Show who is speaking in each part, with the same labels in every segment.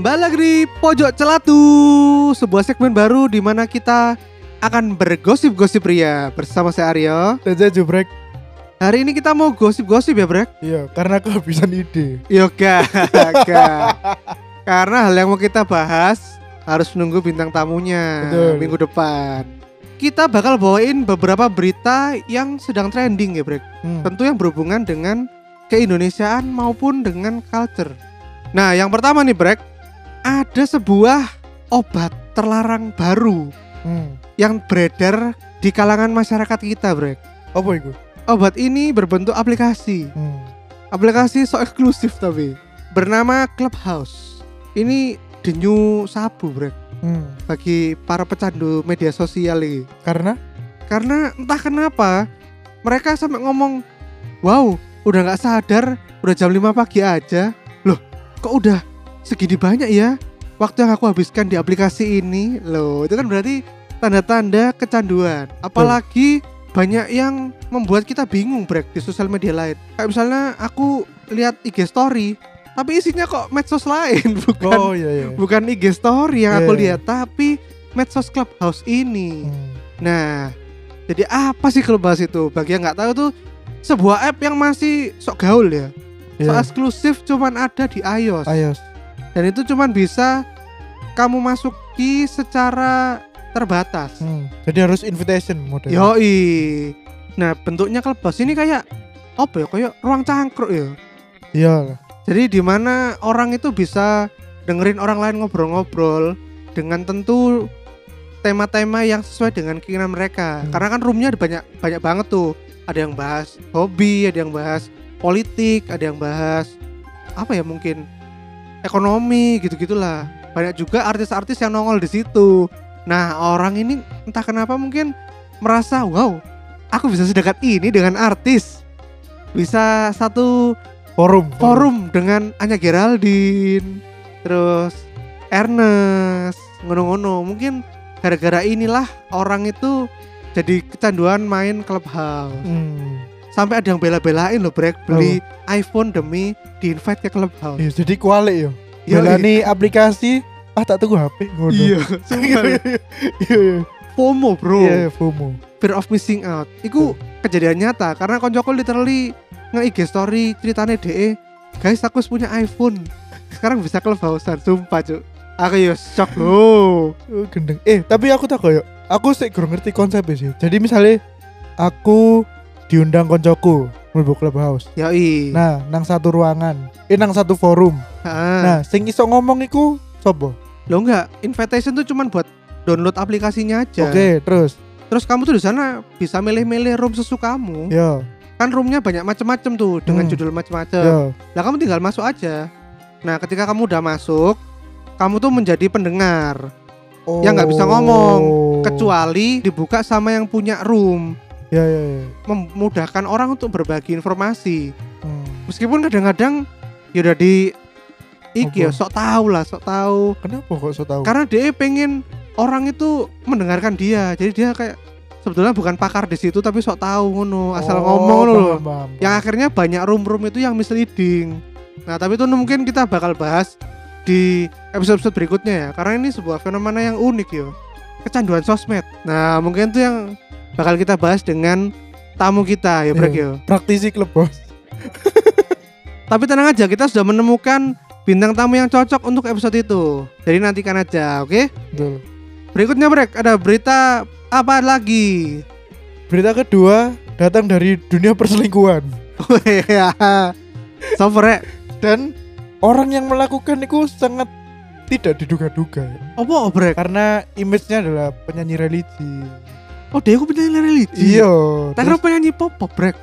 Speaker 1: Balik di Pojok Celatu, sebuah segmen baru di mana kita akan bergosip-gosip ria bersama saya Aryo.
Speaker 2: Dan saya jubrek
Speaker 1: Hari ini kita mau gosip-gosip ya, Brek?
Speaker 2: Iya karena kehabisan ide
Speaker 1: Yoga. Karena hal yang mau kita bahas harus nunggu bintang tamunya
Speaker 2: Betul.
Speaker 1: minggu depan. Kita bakal bawain beberapa berita yang sedang trending ya, Brek.
Speaker 2: Hmm.
Speaker 1: tentu yang berhubungan dengan keindonesiaan maupun dengan culture. Nah, yang pertama nih, Brek, ada sebuah obat terlarang baru
Speaker 2: Hmm.
Speaker 1: yang beredar di kalangan masyarakat kita, Brek.
Speaker 2: Apa itu?
Speaker 1: Obat ini berbentuk aplikasi,
Speaker 2: Hmm.
Speaker 1: aplikasi so eksklusif tapi bernama Clubhouse. Ini the new sabu, Brek,
Speaker 2: Hmm.
Speaker 1: bagi para pecandu media sosial ini.
Speaker 2: Karena
Speaker 1: karena entah kenapa mereka sampai ngomong wow udah nggak sadar udah jam 5 pagi aja loh kok udah segini banyak ya waktu yang aku habiskan di aplikasi ini loh itu kan berarti tanda-tanda kecanduan apalagi banyak yang membuat kita bingung brek di sosial media lain kayak misalnya aku lihat IG story tapi isinya kok medsos lain bukan
Speaker 2: Oh iya iya
Speaker 1: bukan IG story yang aku
Speaker 2: Iya.
Speaker 1: lihat tapi medsos clubhouse ini
Speaker 2: Hmm.
Speaker 1: Nah, jadi apa sih Clubhouse itu? Bagi yang nggak tahu tuh sebuah app yang masih sok gaul ya.
Speaker 2: Iya.
Speaker 1: Sok eksklusif cuman ada di iOS.
Speaker 2: Ayos
Speaker 1: Dan itu cuman bisa kamu masuki secara terbatas.
Speaker 2: Hmm. Jadi harus invitation model
Speaker 1: Yoi. Nah, bentuknya Clubhouse ini kayak apa ya? Kayak ruang cangkruk ya.
Speaker 2: Iya lah
Speaker 1: Jadi di mana orang itu bisa dengerin orang lain ngobrol-ngobrol dengan tentu tema-tema yang sesuai dengan keinginan mereka.
Speaker 2: Hmm.
Speaker 1: Karena kan roomnya ada banyak banyak banget tuh. Ada yang bahas hobi, ada yang bahas politik, ada yang bahas apa ya mungkin ekonomi gitu-gitulah. Banyak juga artis-artis yang nongol di situ. Nah, orang ini entah kenapa mungkin merasa wow, aku bisa sedekat ini dengan artis. Bisa satu
Speaker 2: Forum
Speaker 1: forum dengan Anya Geraldine terus Ernest ngono-ngono mungkin gara-gara inilah orang itu jadi kecanduan main clubhouse
Speaker 2: Hmm.
Speaker 1: sampai ada yang bela-belain loh brek beli iPhone demi di invite ke clubhouse
Speaker 2: Iya, Jadi kuali yo
Speaker 1: Iya,
Speaker 2: Jalani aplikasi Ah tak tunggu HP ngono. Iya
Speaker 1: sumpah.
Speaker 2: Iya iya.
Speaker 1: FOMO bro
Speaker 2: Iya FOMO
Speaker 1: fear of missing out
Speaker 2: Hmm.
Speaker 1: itu kejadian nyata karena koncoku literally nge-IG story ceritanya DE guys aku punya iPhone sekarang bisa clubhouse-an sumpah cuk aku yo shock loh
Speaker 2: Oh, gendeng. Eh, tapi aku tak koyo. Aku sih kurang ngerti konsepnya sih. Jadi misalnya aku diundang koncoku mlebu clubhouse.
Speaker 1: Yoi.
Speaker 2: Nah, nang satu ruangan, eh nang satu forum.
Speaker 1: Heeh.
Speaker 2: Nah, sing iso ngomong iku sopo?
Speaker 1: Lo ah. enggak, invitation tuh cuman buat download aplikasinya aja.
Speaker 2: Oke, terus.
Speaker 1: Terus kamu tuh di sana bisa milih-milih room sesukamu.
Speaker 2: Yo,
Speaker 1: Kan roomnya banyak macem-macem tuh dengan
Speaker 2: Ya. Hmm.
Speaker 1: judul macem-macem.
Speaker 2: yo.
Speaker 1: Lah kamu tinggal masuk aja. Nah, ketika kamu udah masuk, kamu tuh menjadi pendengar Yang Ya, nggak bisa ngomong,
Speaker 2: Oh.
Speaker 1: kecuali dibuka sama yang punya room,
Speaker 2: Ya, ya, ya.
Speaker 1: memudahkan orang untuk berbagi informasi.
Speaker 2: Hmm.
Speaker 1: Meskipun kadang-kadang ya udah di iki ya
Speaker 2: Apa? Oh.
Speaker 1: sok tahu lah, sok tahu
Speaker 2: Kenapa kok so tau?
Speaker 1: karena dia pengen orang itu mendengarkan dia jadi dia kayak sebetulnya bukan pakar di situ tapi sok tahu ngono asal
Speaker 2: Oh,
Speaker 1: ngomong Ya.
Speaker 2: paham,
Speaker 1: loh
Speaker 2: paham,
Speaker 1: yang
Speaker 2: paham.
Speaker 1: akhirnya banyak room-room itu yang misleading nah tapi itu mungkin kita bakal bahas di episode-episode berikutnya ya karena ini sebuah fenomena yang unik yo kecanduan sosmed nah mungkin itu yang bakal kita bahas dengan tamu kita ya Brek
Speaker 2: Iya.
Speaker 1: yo
Speaker 2: praktisi klub bos.
Speaker 1: tapi tenang aja kita sudah menemukan bintang tamu yang cocok untuk episode itu jadi nantikan aja oke
Speaker 2: Betul.
Speaker 1: Berikutnya Brek, ada berita apa lagi?
Speaker 2: Berita kedua datang dari dunia perselingkuhan
Speaker 1: Sofer Ya. Rek.
Speaker 2: dan orang yang melakukan itu sangat tidak diduga-duga ya.
Speaker 1: Apa Brek?
Speaker 2: karena image-nya adalah penyanyi religi.
Speaker 1: Oh dia aku penyanyi religi
Speaker 2: Iya.
Speaker 1: Tapi aku penyanyi pop-pop Brek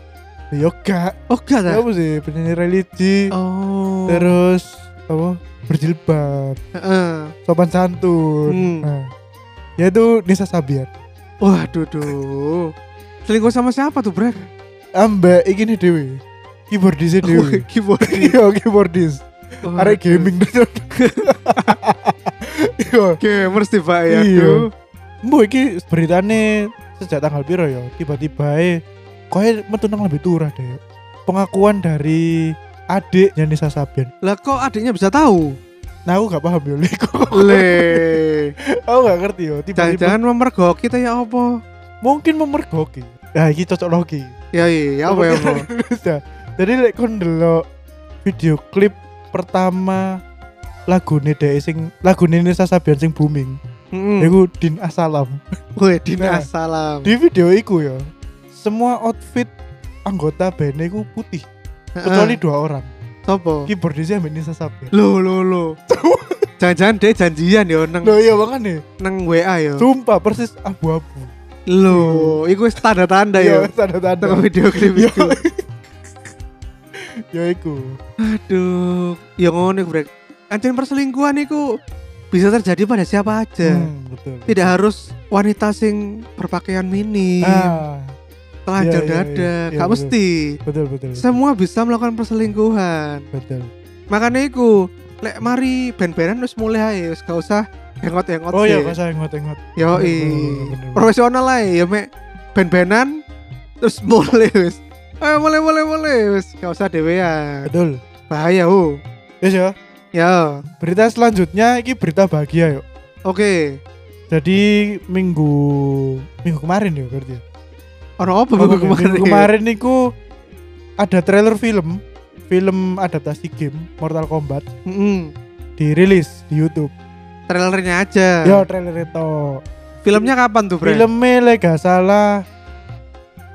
Speaker 2: yoga.
Speaker 1: Oh enggak tak?
Speaker 2: Ya, Apa sih penyanyi religi?
Speaker 1: Oh
Speaker 2: terus apa berjilbab
Speaker 1: Heeh.
Speaker 2: sopan santun
Speaker 1: Hmm.
Speaker 2: nah, yaitu Nisa Sabian
Speaker 1: Waduh duh Selingkuh sama siapa tuh Brek?
Speaker 2: ambek Ah, iki nih dewi keyboardis
Speaker 1: Oh
Speaker 2: dewi
Speaker 1: Keyboard
Speaker 2: iya keyboardis arek gaming tuh iya
Speaker 1: Gamers tiba ya
Speaker 2: Iya.
Speaker 1: aduh.
Speaker 2: mbo iki beritane sejak tanggal piro ya tiba-tiba eh koe metu nang lebih turah deh pengakuan dari adiknya Nisa Sabian
Speaker 1: Lah kok adiknya bisa tahu?
Speaker 2: Nah aku gak paham yo Lek.
Speaker 1: Le.
Speaker 2: Aku gak ngerti yo. Tiba-tiba
Speaker 1: Jangan-jangan memergoki ta ya apa?
Speaker 2: mungkin memergoki. Nah iki cocok logi.
Speaker 1: Ya iya apa ya apa.
Speaker 2: Bisa. Jadi lek kon ndelok video klip pertama lagune dhek sing lagune Nisa Sabian sing booming.
Speaker 1: Heeh.
Speaker 2: Iku Din Asalam.
Speaker 1: Kowe dinasalam.
Speaker 2: Di video iku ya. Semua outfit anggota band iku putih
Speaker 1: Hmm.
Speaker 2: kecuali dua orang.
Speaker 1: sopo?
Speaker 2: Keyboardisnya mbek Nisa Sabian.
Speaker 1: Lo lo lo. Jangan-jangan dia janjian ya neng
Speaker 2: Loh iya makanya
Speaker 1: neng WA ya.
Speaker 2: Sumpah persis abu-abu. Iya,
Speaker 1: Lo, iku wis tanda-tanda ya.
Speaker 2: tanda-tanda.
Speaker 1: Tengok video klip
Speaker 2: Yo.
Speaker 1: itu.
Speaker 2: Ya iku.
Speaker 1: Aduh, ya ngono iku, Brek. Anjing perselingkuhan iku bisa terjadi pada siapa aja.
Speaker 2: Hmm, betul.
Speaker 1: Tidak harus wanita sing berpakaian mini,
Speaker 2: Ah,
Speaker 1: telanjang
Speaker 2: iya, iya,
Speaker 1: dada,
Speaker 2: iya, iya,
Speaker 1: gak
Speaker 2: betul.
Speaker 1: mesti.
Speaker 2: betul betul. betul.
Speaker 1: Semua bisa melakukan perselingkuhan.
Speaker 2: betul.
Speaker 1: Makanya iku, lek mari ben-benan wis mulai ae, wis gak usah hengot-hengot
Speaker 2: Oh iya,
Speaker 1: sih.
Speaker 2: kok saya ngot-ngot.
Speaker 1: Yoi.
Speaker 2: Bener, bener, bener.
Speaker 1: Profesional lah ya, mek ben-benan terus mulai wis. Ayo mulai mulai mulai wis, gak usah dhewean.
Speaker 2: Betul.
Speaker 1: Bahaya, ho.
Speaker 2: Yes ya.
Speaker 1: Ya.
Speaker 2: Berita selanjutnya ini berita bahagia yuk.
Speaker 1: Oke.
Speaker 2: Jadi minggu minggu kemarin ya berarti. ya?
Speaker 1: Orang apa Oh, minggu
Speaker 2: Oke,
Speaker 1: kemarin? iya.
Speaker 2: Minggu Oh, kemarin niku ada trailer film film adaptasi game Mortal Kombat
Speaker 1: Mm-mm.
Speaker 2: dirilis di YouTube.
Speaker 1: Trailernya aja.
Speaker 2: Yo trailer itu.
Speaker 1: Filmnya kapan tuh, Bre?
Speaker 2: Filmnya lek gak salah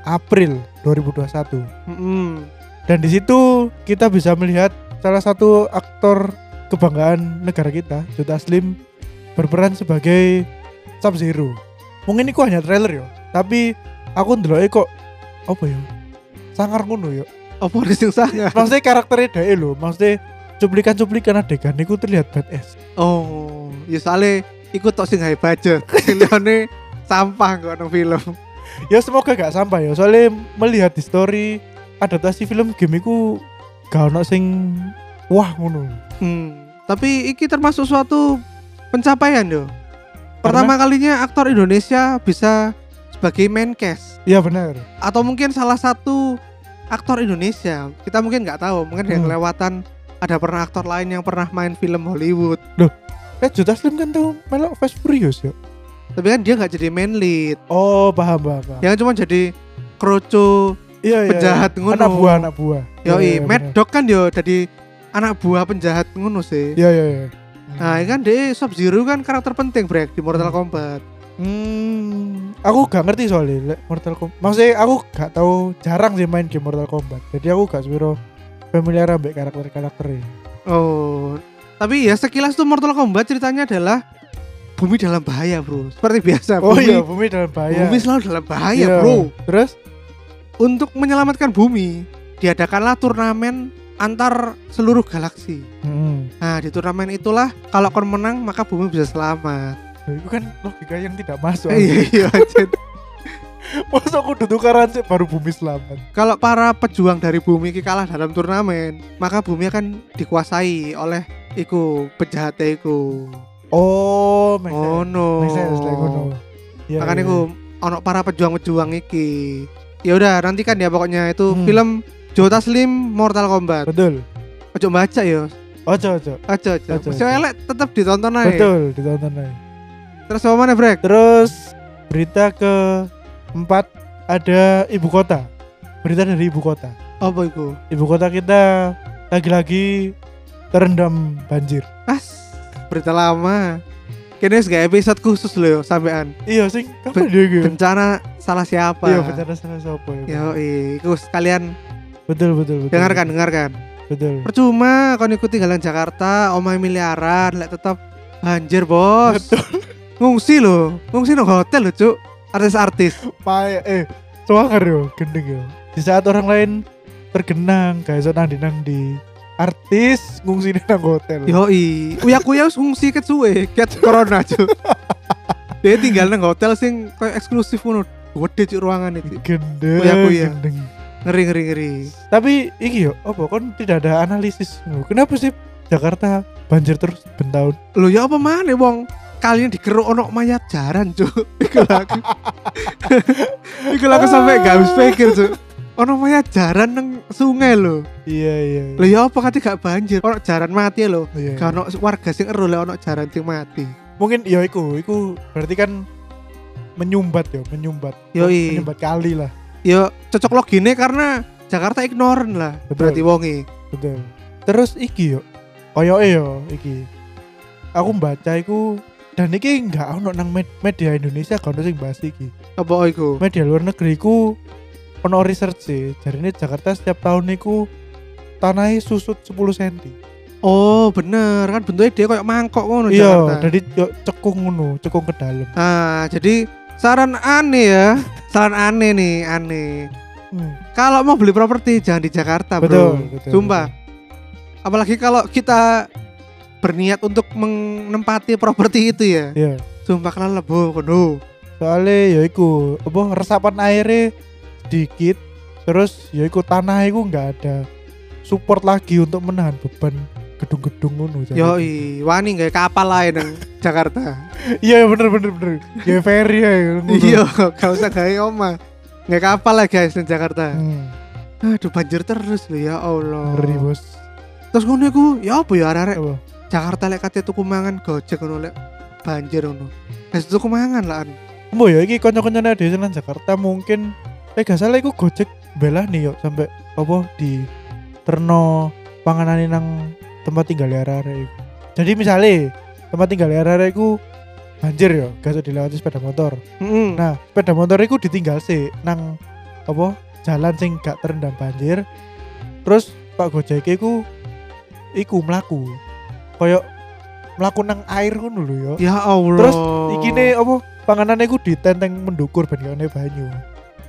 Speaker 2: April 2021.
Speaker 1: Mm-mm.
Speaker 2: Dan di situ kita bisa melihat salah satu aktor kebanggaan negara kita, Juta Slim berperan sebagai Sub Zero. Mungkin ini hanya trailer ya, tapi aku ndeloknya kok apa ya? Sangar ngono ya.
Speaker 1: Apa ada yang sangat?
Speaker 2: Maksudnya karakternya dhek e lho, maksudnya cuplikan-cuplikan adegan niku terlihat badass.
Speaker 1: Oh, ya soalnya ikut tok sing high budget. Sing liyane sampah kok nang film.
Speaker 2: Ya semoga gak sampai ya, soalnya melihat di story adaptasi film game iku gak ono sing wah ngono.
Speaker 1: Hmm. Tapi iki termasuk suatu pencapaian yo. Pertama kalinya aktor Indonesia bisa sebagai main cast
Speaker 2: Iya benar.
Speaker 1: atau mungkin salah satu aktor Indonesia. Kita mungkin nggak tahu, mungkin ada yang
Speaker 2: Hmm.
Speaker 1: kelewatan ada pernah aktor lain yang pernah main film Hollywood.
Speaker 2: Eh Juta Slim kan tuh melok Fast Furious ya.
Speaker 1: Tapi kan dia nggak jadi main lead.
Speaker 2: Oh paham paham. paham.
Speaker 1: Dia kan cuma jadi kroco
Speaker 2: iya,
Speaker 1: penjahat ngono.
Speaker 2: Anak buah anak buah. Iya,
Speaker 1: Yoi, Mad
Speaker 2: bener.
Speaker 1: Dog kan yo jadi anak buah penjahat ngono sih.
Speaker 2: Iya iya iya.
Speaker 1: Nah, ini kan dia Sub Zero kan karakter penting brek di Mortal
Speaker 2: Hmm.
Speaker 1: Kombat.
Speaker 2: Hmm, aku gak ngerti soalnya lek Mortal Kombat. Maksudnya aku gak tahu jarang sih main game Mortal Kombat. Jadi aku gak sebiro familiar ambek karakter-karakternya.
Speaker 1: Oh, tapi ya sekilas tuh Mortal Kombat ceritanya adalah bumi dalam bahaya, Bro. Seperti biasa,
Speaker 2: Oh
Speaker 1: bumi,
Speaker 2: iya, bumi dalam bahaya.
Speaker 1: bumi selalu dalam bahaya,
Speaker 2: Iya.
Speaker 1: Bro.
Speaker 2: Terus
Speaker 1: Untuk menyelamatkan bumi, diadakanlah turnamen antar seluruh galaksi.
Speaker 2: hmm.
Speaker 1: Nah, di turnamen itulah kalau kon menang maka bumi bisa selamat.
Speaker 2: Nah, Itu kan logika yang tidak masuk.
Speaker 1: Iya, iya, Jen.
Speaker 2: Masa aku duduk karan sih baru bumi selamat.
Speaker 1: Kalau para pejuang dari bumi iki kalah dalam turnamen, maka bumi akan dikuasai oleh iku penjahat iku.
Speaker 2: Oh, make sense.
Speaker 1: Oh no.
Speaker 2: Make sense, like, ngono. Iya,
Speaker 1: Makanya
Speaker 2: iya,
Speaker 1: iku ono para pejuang-pejuang iki. Ya udah nantikan ya pokoknya itu
Speaker 2: Hmm.
Speaker 1: film Jota Slim Mortal
Speaker 2: iya.
Speaker 1: Kombat.
Speaker 2: Betul.
Speaker 1: Ojo baca ya.
Speaker 2: Ojo ojo.
Speaker 1: Aja aja.
Speaker 2: Ojo,
Speaker 1: Masih
Speaker 2: ojo.
Speaker 1: elek tetep ditonton aja.
Speaker 2: Betul, ditonton aja.
Speaker 1: Terus apa mana, Brek?
Speaker 2: Terus berita ke empat ada ibu kota. Berita dari ibu kota.
Speaker 1: Apa iku?
Speaker 2: Ibu kota kita lagi-lagi terendam banjir.
Speaker 1: As berita lama. Kini wis gak episode khusus loh sampean.
Speaker 2: Iya sing
Speaker 1: Ben-
Speaker 2: kapan dia gitu?
Speaker 1: Bencana salah siapa?
Speaker 2: Iya bencana salah siapa ya.
Speaker 1: Yo, iku sekalian
Speaker 2: Betul betul
Speaker 1: Iya.
Speaker 2: betul.
Speaker 1: dengarkan, dengarkan.
Speaker 2: Betul.
Speaker 1: Percuma kon iku tinggal nang Jakarta, omah miliaran, lek tetep banjir, Bos. Ngungsi loh, ngungsi nang hotel loh, Cuk. Artis-artis.
Speaker 2: Pae eh suangar yo gendeng yo. Di saat orang lain tergenang guys nang di nang di artis ngungsi nang hotel.
Speaker 1: Yoi, uya-kuya wis ngungsi ket suwe, ket corona, Cuk. Dia tinggal nang hotel sing koyo eksklusif ngono. Gede cuk ruangan itu.
Speaker 2: Gendeng.
Speaker 1: Kuya, kuya.
Speaker 2: gendeng.
Speaker 1: Ngeri ngeri ngeri.
Speaker 2: Tapi iki yo, apa kon tidak ada analisis. lho. Kenapa sih Jakarta banjir terus ben tahun?
Speaker 1: Loh ya apa maneh wong kalian dikeruk ono mayat jaran, Cuk. Iku laku. Iku laku sampe gak habis pikir, Cuk. ono mayat jaran nang sungai lho.
Speaker 2: Iya iya.
Speaker 1: Lho ya apa kate gak banjir? Ono jaran mati ya lho.
Speaker 2: Iya.
Speaker 1: Gak ono warga sing ero lek ono jaran sing mati.
Speaker 2: Mungkin ya iku, iku berarti kan menyumbat ya, menyumbat.
Speaker 1: Yoi.
Speaker 2: Menyumbat kali lah.
Speaker 1: Ya cocok logine karena Jakarta ignoran lah.
Speaker 2: Betul.
Speaker 1: Berarti wonge.
Speaker 2: Betul. Terus iki yo. Koyoke yo iki. Aku baca iku dan iki nggak ono nang med- media Indonesia gak ono sing bahas iki.
Speaker 1: Apa oh, iku?
Speaker 2: Media luar negeri ku ono research sih. Jarine Jakarta setiap tahun niku tanahnya susut 10 cm.
Speaker 1: Oh, bener kan bentuknya dia koyo mangkok ngono
Speaker 2: Iya,
Speaker 1: Jakarta.
Speaker 2: jadi yo cekung ngono, cekung ke dalam.
Speaker 1: Nah, jadi saran aneh ya. saran aneh nih, aneh.
Speaker 2: Hmm,
Speaker 1: Kalau mau beli properti jangan di Jakarta, Bro.
Speaker 2: betul, betul.
Speaker 1: Sumpah. Apalagi kalau kita berniat untuk menempati properti itu ya.
Speaker 2: betul. Iya.
Speaker 1: Sumpah kalian lebo kono.
Speaker 2: soalnya ya iku apa resapan airnya sedikit terus ya iku tanah iku nggak ada support lagi untuk menahan beban gedung-gedung ngono Jan.
Speaker 1: Yoi, wani nggak kapal lain nang Jakarta.
Speaker 2: iya bener bener bener ya ferry ya ngono.
Speaker 1: Iya, gak usah gawe oma. Nggak kapal lah guys nang Jakarta.
Speaker 2: hmm,
Speaker 1: Aduh banjir terus loh ya Allah.
Speaker 2: ngeri bos
Speaker 1: Terus ngono iku ya apa ya arek
Speaker 2: Apa?
Speaker 1: Jakarta lek kate tuku mangan gojek ngono lek banjir ngono. Wis tuku mangan lah. an.
Speaker 2: Embo ya iki kanca-kancane di Senan Jakarta mungkin eh gak salah iku Gojek belah nih yo sampai apa di terno panganane nang tempat tinggal arek-arek iku. Jadi misalnya tempat tinggal arek-arek iku banjir yo, gak usah dilewati sepeda motor.
Speaker 1: Heeh.
Speaker 2: Nah, sepeda motor iku ditinggal sih nang apa jalan sing gak terendam banjir. Terus Pak Gojek iku iku mlaku. Koyok mlaku nang air ngono lho yo.
Speaker 1: Ya Allah.
Speaker 2: Terus, Iki nih apa panganannya gue ditenteng mendukur ben kene banyu.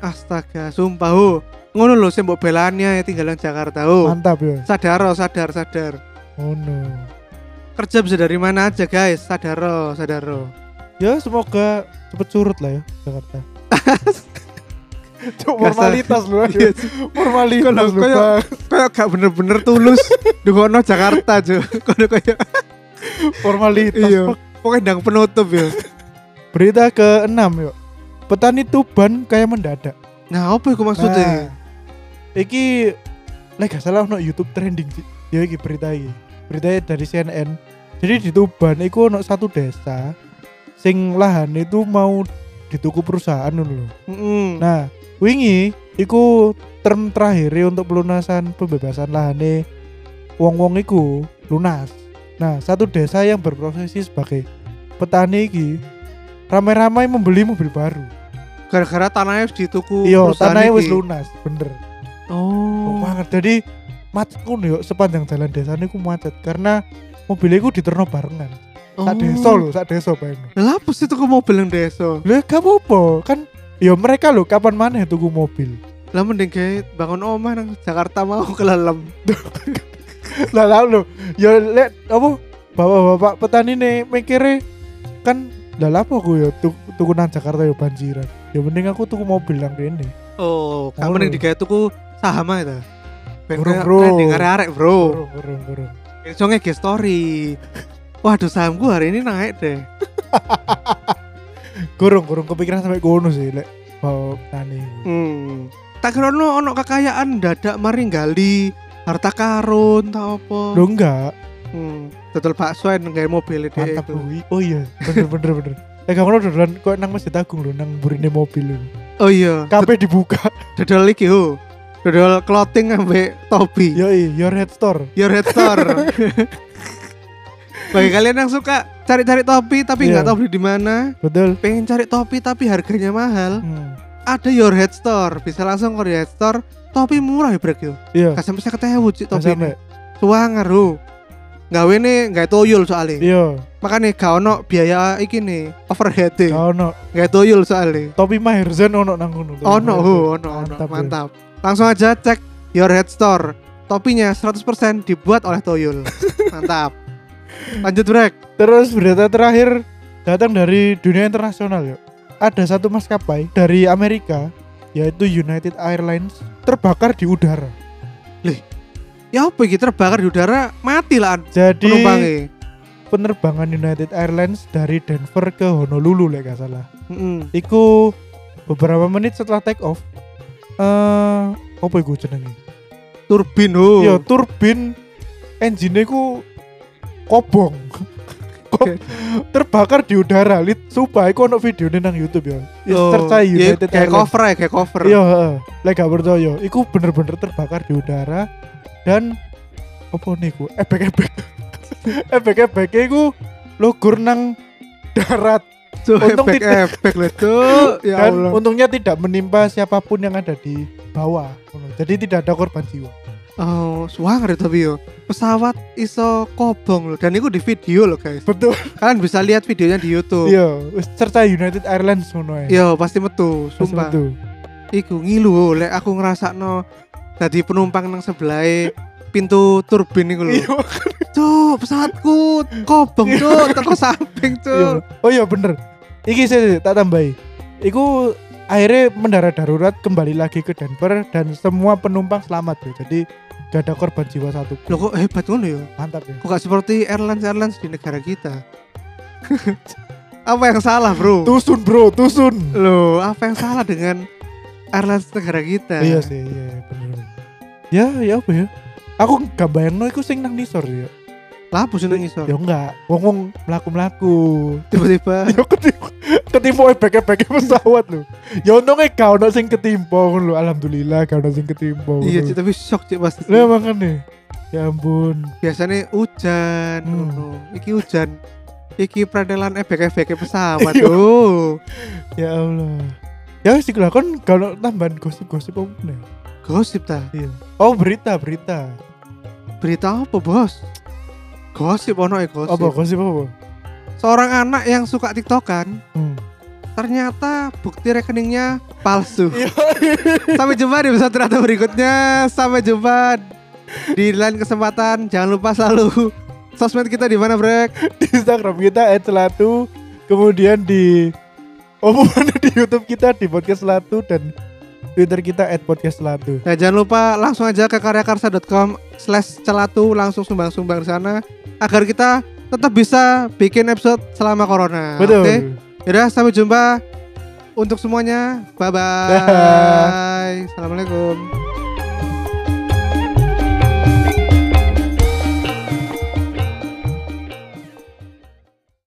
Speaker 1: Astaga, sumpah ho. Ngono lho sing mbok belannya ya tinggalan Jakarta ho.
Speaker 2: Mantap ya.
Speaker 1: Sadar, ho, sadar, sadar.
Speaker 2: Ngono.
Speaker 1: Kerja bisa dari mana aja guys, sadar, ho, sadar. ho.
Speaker 2: Ya semoga cepet surut lah ya Jakarta.
Speaker 1: Gak
Speaker 2: Cuk,
Speaker 1: usah.
Speaker 2: formalitas lu aja.
Speaker 1: Iya,
Speaker 2: Formalitas
Speaker 1: Kalau
Speaker 2: lu.
Speaker 1: kayak-
Speaker 2: Bang.
Speaker 1: Kayak gak bener-bener tulus dukono Jakarta jo. Kono kayak
Speaker 2: Formalitas.
Speaker 1: iya.
Speaker 2: Bang.
Speaker 1: Pokoknya ndang penutup ya.
Speaker 2: Berita ke-6 yuk. Petani Tuban kayak mendadak.
Speaker 1: Nah, apa iku maksudnya?
Speaker 2: Nah, iki lek gak salah ono YouTube trending sih. Ya iki berita iki. Beritanya dari CNN. Jadi di Tuban iku ono satu desa sing lahan itu mau dituku perusahaan dulu.
Speaker 1: Heeh.
Speaker 2: Nah, wingi iku term terakhir untuk pelunasan pembebasan lahane wong-wong iku lunas. Nah, satu desa yang berprofesi sebagai petani iki ramai-ramai membeli mobil baru.
Speaker 1: Gara-gara tanahnya wis dituku
Speaker 2: Iya,
Speaker 1: Oh, perusahaan
Speaker 2: tanahnya wis
Speaker 1: iki.
Speaker 2: lunas, bener. Oh,
Speaker 1: Oh.
Speaker 2: banget. Jadi macet ngono yo sepanjang jalan desa niku macet karena mobilnya iku diterno barengan. Sak desa lho, sak desa bayangno.
Speaker 1: Oh. Lah, apa sih tuku mobil nang desa?
Speaker 2: Lah gak apa-apa, kan ya mereka lho kapan maneh tuku mobil.
Speaker 1: Lah mending kayak bangun omah nang Jakarta mau kelalem.
Speaker 2: lah lah lho ya lek apa bapak-bapak petani nih mikirnya kan lah lah apa aku ya tuk, tuku nang Jakarta ya banjiran ya mending aku tuku mobil nang kene
Speaker 1: Oh,
Speaker 2: Oh,
Speaker 1: kamu mending
Speaker 2: lho.
Speaker 1: digawe tuku saham ae ta. Ben
Speaker 2: Bro,
Speaker 1: kayak
Speaker 2: bro.
Speaker 1: branding arek-arek, Bro.
Speaker 2: burung burung burung
Speaker 1: Besoknya ge story. Waduh, sahamku hari ini naik deh.
Speaker 2: burung burung kepikiran sampai kono sih lek bapak petani
Speaker 1: Hmm. Tak kira ono ono kekayaan dadak maringgali harta karun tau apa.
Speaker 2: lo enggak
Speaker 1: Hmm. Total bakso yang nggak mobil e, itu.
Speaker 2: mantap gue oh iya bener bener bener Eh kamu lo dodolan kok nang masjid agung lo nang burine mobil lo
Speaker 1: Oh iya.
Speaker 2: kape dibuka
Speaker 1: Dodol iki ho. Dodol clothing ambek topi.
Speaker 2: yoi your head iya, store
Speaker 1: Your head store. Bagi kalian yang suka cari-cari topi tapi nggak
Speaker 2: Iya.
Speaker 1: tahu beli di mana,
Speaker 2: betul
Speaker 1: pengen cari topi tapi harganya mahal,
Speaker 2: Hmm.
Speaker 1: ada Your Head Store. Bisa langsung ke Your Head Store, topi murah ya brek yo.
Speaker 2: iya
Speaker 1: Gak sampai saya ketemu sih
Speaker 2: gak
Speaker 1: topi. ini.
Speaker 2: sampai.
Speaker 1: Suwanger ho. Gawe nih nggak toyol soalnya.
Speaker 2: iya
Speaker 1: Makanya gak ono biaya iki nih overhead e.
Speaker 2: kau no
Speaker 1: Nggak toyol soalnya.
Speaker 2: Ya, topi Maherzen ono nang kono. Topi
Speaker 1: Ono oh, ho,
Speaker 2: Maherzen.
Speaker 1: ono ono.
Speaker 2: Mantap. ya.
Speaker 1: Mantap. Langsung aja cek Your Head Store. Topinya 100% dibuat oleh Toyol. Mantap. Lanjut brek.
Speaker 2: Terus berita terakhir datang dari dunia internasional yuk. Ada satu maskapai dari Amerika yaitu United Airlines terbakar di udara.
Speaker 1: ya apa iki terbakar di udara mati lah
Speaker 2: Jadi
Speaker 1: penumpangnya
Speaker 2: penerbangan United Airlines dari Denver ke Honolulu lek gak salah.
Speaker 1: Mm-mm.
Speaker 2: Iku beberapa menit setelah take off eh apa iku jenenge?
Speaker 1: Turbin ho.
Speaker 2: Iya, turbin engine ku kobong. Ko- terbakar di udara lit sumpah iku ono videone nang YouTube ya. Is
Speaker 1: Yo,
Speaker 2: Search aja
Speaker 1: ya,
Speaker 2: United
Speaker 1: kayak
Speaker 2: Airlines.
Speaker 1: cover ya, kayak cover.
Speaker 2: Iya, heeh. lek gak percaya, iku bener-bener terbakar di udara dan apa niku? Ebek-ebek. Ebek-ebek iku lugur nang darat
Speaker 1: Cuk,
Speaker 2: Untung
Speaker 1: efek
Speaker 2: tidak-
Speaker 1: efek lah cuk. Ya
Speaker 2: dan
Speaker 1: Allah.
Speaker 2: untungnya tidak menimpa siapapun yang ada di bawah. Jadi tidak ada korban jiwa.
Speaker 1: Oh, suangar ya tapi yo. Pesawat iso kobong loh dan itu di video loh guys.
Speaker 2: Betul.
Speaker 1: Kalian bisa lihat videonya di YouTube.
Speaker 2: Iya, wis cerca United Airlines ngono ae.
Speaker 1: Yo, pasti metu,
Speaker 2: Pas
Speaker 1: Iya, sumpah.
Speaker 2: metu.
Speaker 1: Iku ngilu ho, lek aku ngrasakno dadi penumpang nang sebelahe pintu turbin iku lho.
Speaker 2: Iya.
Speaker 1: Cuk, pesawatku kobong cuk, teko samping
Speaker 2: Iya.
Speaker 1: cuk.
Speaker 2: Oh iya bener. Iki sih sih, tak tambahi. Iku akhirnya mendarat darurat kembali lagi ke Denver dan semua penumpang selamat bro. Jadi gak ada korban jiwa satu.
Speaker 1: Loh kok hebat ngono ya?
Speaker 2: Mantap ya.
Speaker 1: Kok gak seperti airlines-airlines di negara kita? apa yang salah, Bro?
Speaker 2: Tusun bro, tusun.
Speaker 1: Loh, apa yang salah dengan airlines negara kita?
Speaker 2: Iya sih, iya bener. Ya, ya apa ya? Aku gak bayangno iku sing nang nisor ya.
Speaker 1: Lapu sih nang ngisor.
Speaker 2: Ya enggak, wong-wong melaku-melaku.
Speaker 1: Tiba-tiba
Speaker 2: Ya ketimpa ketimpa ebek-ebek pesawat lho. Ya untungnya gak ono sing ketimpa ngono lho. Alhamdulillah gak ono sing ketimpa.
Speaker 1: iya
Speaker 2: ngono.
Speaker 1: Cik, tapi shock Cik pasti.
Speaker 2: Lah makane. Ya ampun.
Speaker 1: Biasanya hujan,
Speaker 2: Hmm.
Speaker 1: ngono. Iki hujan. Iki peredelan ebek-ebek pesawat.
Speaker 2: Iya.
Speaker 1: Oh.
Speaker 2: Ya Allah. Ya wis iku lah kon gak ono tambahan gosip-gosip apa meneh.
Speaker 1: Gosip ta.
Speaker 2: Iya. Oh, berita, berita.
Speaker 1: Berita apa, Bos? Gosip ono ya gosip.
Speaker 2: Apa gosip apa?
Speaker 1: Seorang anak yang suka TikTokan
Speaker 2: Hmm.
Speaker 1: ternyata bukti rekeningnya palsu.
Speaker 2: Iya.
Speaker 1: Sampai jumpa di episode ternyata berikutnya. Sampai jumpa di lain kesempatan. Jangan lupa selalu sosmed kita di mana, Brek?
Speaker 2: di Instagram kita @selatu, kemudian di Oh, di YouTube kita di podcast Selatu dan Twitter kita @podcastselatu.
Speaker 1: Nah, jangan lupa langsung aja ke karyakarsa.com slash celatu langsung sumbang-sumbang di sana agar kita tetap bisa bikin episode selama corona.
Speaker 2: Betul.
Speaker 1: Oke? Yaudah, sampai jumpa untuk semuanya. Bye-bye.
Speaker 2: Dah.
Speaker 1: Assalamualaikum.